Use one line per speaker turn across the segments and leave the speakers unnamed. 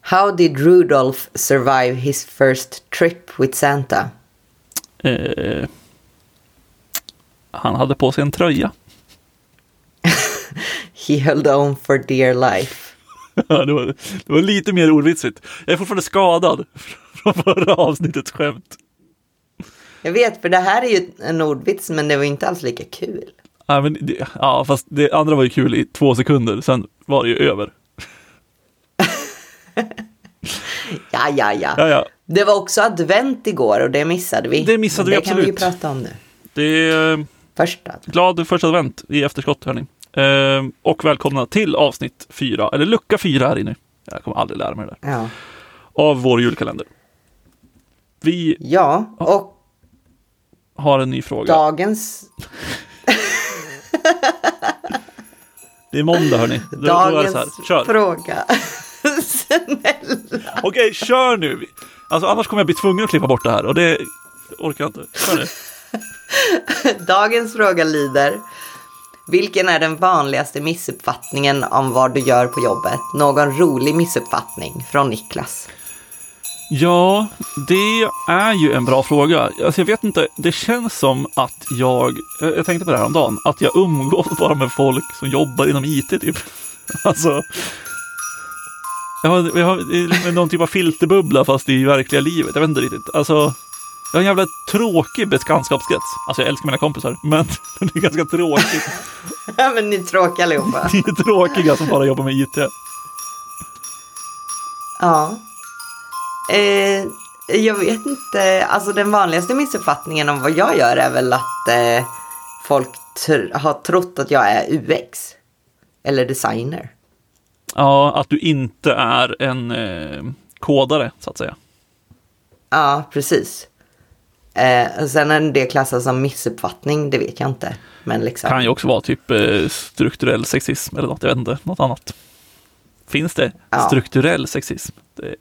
How did Rudolph survive his first trip with Santa?
Eh, han hade på sig en tröja.
He held on for dear life.
Ja, det, var, det var lite mer ordvitsigt. Jag är fortfarande skadad från förra avsnittets skämt.
Jag vet, för det här är ju en ordvits, men det var inte alls lika kul.
Ja, men det, ja, fast det andra var ju kul i två sekunder, sen var det ju över.
Ja, ja, ja.
Ja, ja.
Det var också advent igår och det missade vi.
Det
Men
missade vi
det kan vi ju
absolut.
prata om nu.
Det är eh,
Första.
glad första advent i efterskott, hörni. Eh, och välkomna till avsnitt fyra, eller lucka fyra här inne. Jag kommer aldrig lära mig det där.
Ja.
Av vår julkalender. Vi
ja, och
har en ny fråga.
dagens,
Det är måndag, hörni. Då, då är det så här.
dagens
Kör.
fråga.
Okej, kör nu! Alltså annars kommer jag bli tvungen att klippa bort det här och det orkar jag inte. Kör nu.
dagens fråga lyder. Vilken är den vanligaste missuppfattningen om vad du gör på jobbet? Någon rolig missuppfattning från Niklas.
Ja, det är ju en bra fråga. Alltså jag vet inte, det känns som att jag, eh, jag tänkte på det här om dagen, att jag umgås bara med folk som jobbar inom IT typ. Alltså, jag har, jag har det är liksom någon typ av filterbubbla fast i verkliga livet. Jag vet inte riktigt. Alltså, jag har en jävla tråkig bekantskapskrets. Alltså jag älskar mina kompisar, men det är ganska tråkigt.
Ja, men ni är tråkiga allihopa.
Ni är tråkiga som bara jobbar med IT.
Ja. Eh, jag vet inte. Alltså den vanligaste missuppfattningen om vad jag gör är väl att eh, folk tr- har trott att jag är UX. Eller designer.
Ja, att du inte är en eh, kodare, så att säga.
Ja, precis. Eh, och sen är det klassas som missuppfattning, det vet jag inte. Men liksom.
Kan ju också vara typ eh, strukturell sexism eller något, jag vet inte, något annat. Finns det
Ja.
strukturell sexism? Det,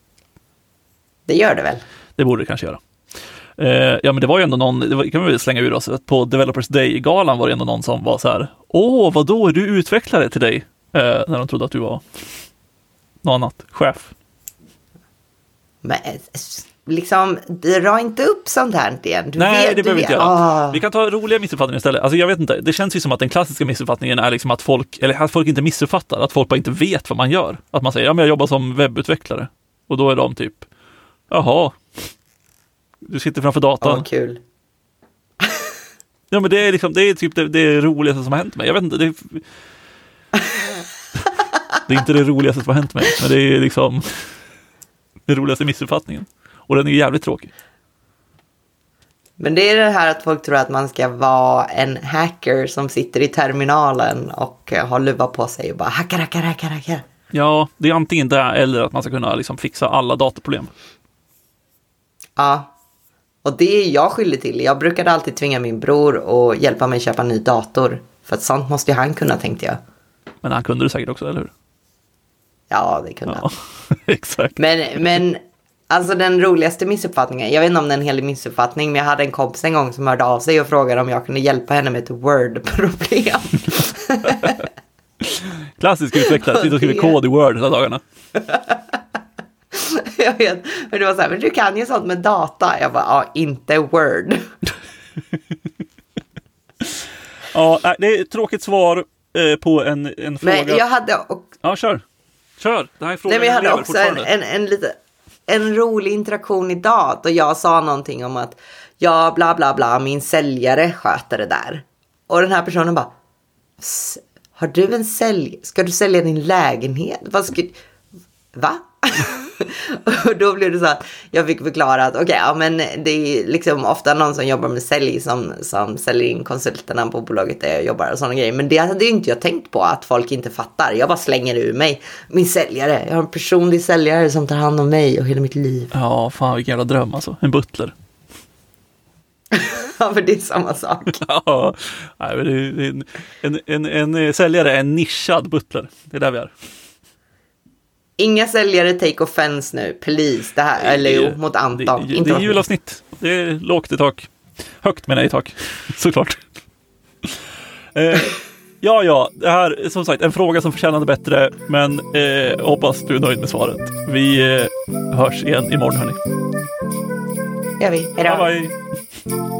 Det gör det väl?
det borde det kanske göra. Eh, ja, men det var ju ändå någon, det var, kan vi väl slänga ur oss, att på Developers Day-galan var det ändå någon som var så här, åh, vadå, är du utvecklare till dig? Eh, när de trodde att du var något annat, chef.
Men, eh, s- liksom, dra inte upp sånt här igen. Du
Nej,
vet,
det
du
behöver vi
vet.
inte göra.
Ah.
Vi kan ta roliga missuppfattningar istället. Alltså jag vet inte, det känns ju som att den klassiska missuppfattningen är liksom att folk, eller att folk inte missuppfattar, att folk bara inte vet vad man gör. Att man säger, ja men jag jobbar som webbutvecklare. Och då är de typ, jaha, du sitter framför datorn.
Åh, kul.
Ja men det är liksom, det är typ det, det roligaste som har hänt mig. Jag vet inte, det är... Det är inte det roligaste som har hänt mig, men det är liksom den roligaste missuppfattningen. Och den är jävligt tråkig.
Men det är det här att folk tror att man ska vara en hacker som sitter i terminalen och eh, har luva på sig och bara hackar, hackar, hackar, hackar.
Ja, det är antingen det eller att man ska kunna liksom fixa alla datorproblem.
Ja. Och det är jag skyldig till. Jag brukade alltid tvinga min bror att hjälpa mig köpa en ny dator. För att sånt måste ju han kunna tänkte jag.
Men han kunde det säkert också, eller hur?
Ja, det kunde han.
Ja, exakt.
Men, men alltså den roligaste missuppfattningen, jag vet inte om det är en hel missuppfattning, men jag hade en kompis en gång som hörde av sig och frågade om jag kunde hjälpa henne med ett word-problem.
Klassisk utvecklare, sitter och skriver kod i Word hela dagarna.
jag vet, men det var så här, men du kan ju sånt med data. Jag bara, ja, inte word.
Ja, nej, det är ett tråkigt svar eh, på en, en fråga.
Men jag hade också
Ja, kör. Kör, det här är frågan
Nej, men jag
som
hade
lever
också en,
fortfarande.
en, en, lite, en rolig interaktion idag då jag sa någonting om att ja, bla bla bla, min säljare sköter det där. Och den här personen bara, "S- har du en sälj, ska du sälja din lägenhet? Vad ska, va? och då blev det så att jag fick förklara att okej, ja men det är liksom ofta någon som jobbar med sälj som, som säljer in konsulterna på bolaget där jag jobbar och sådana grejer. Men det hade ju inte jag tänkt på att folk inte fattar. Jag bara slänger ur mig min säljare. Jag har en personlig säljare som tar hand om mig och hela mitt liv.
Ja, fan vilken jävla dröm alltså. En butler.
Ja, för det är samma sak.
Ja, nej, men det är en, en, en, en eh, säljare är en nischad butler. Det är där vi är.
Inga säljare take offense nu, please. Det här, eller jo, mot Anton.
Det, det,
inte
det är
mot mig.
julavsnitt. Det är lågt i tak. Högt menar jag i tak, såklart. Eh, Ja, ja, det här är som sagt en fråga som förtjänade bättre, men eh, hoppas du är nöjd med svaret. Vi eh, hörs igen imorgon hörni.
gör vi. Hejdå.
Bye bye!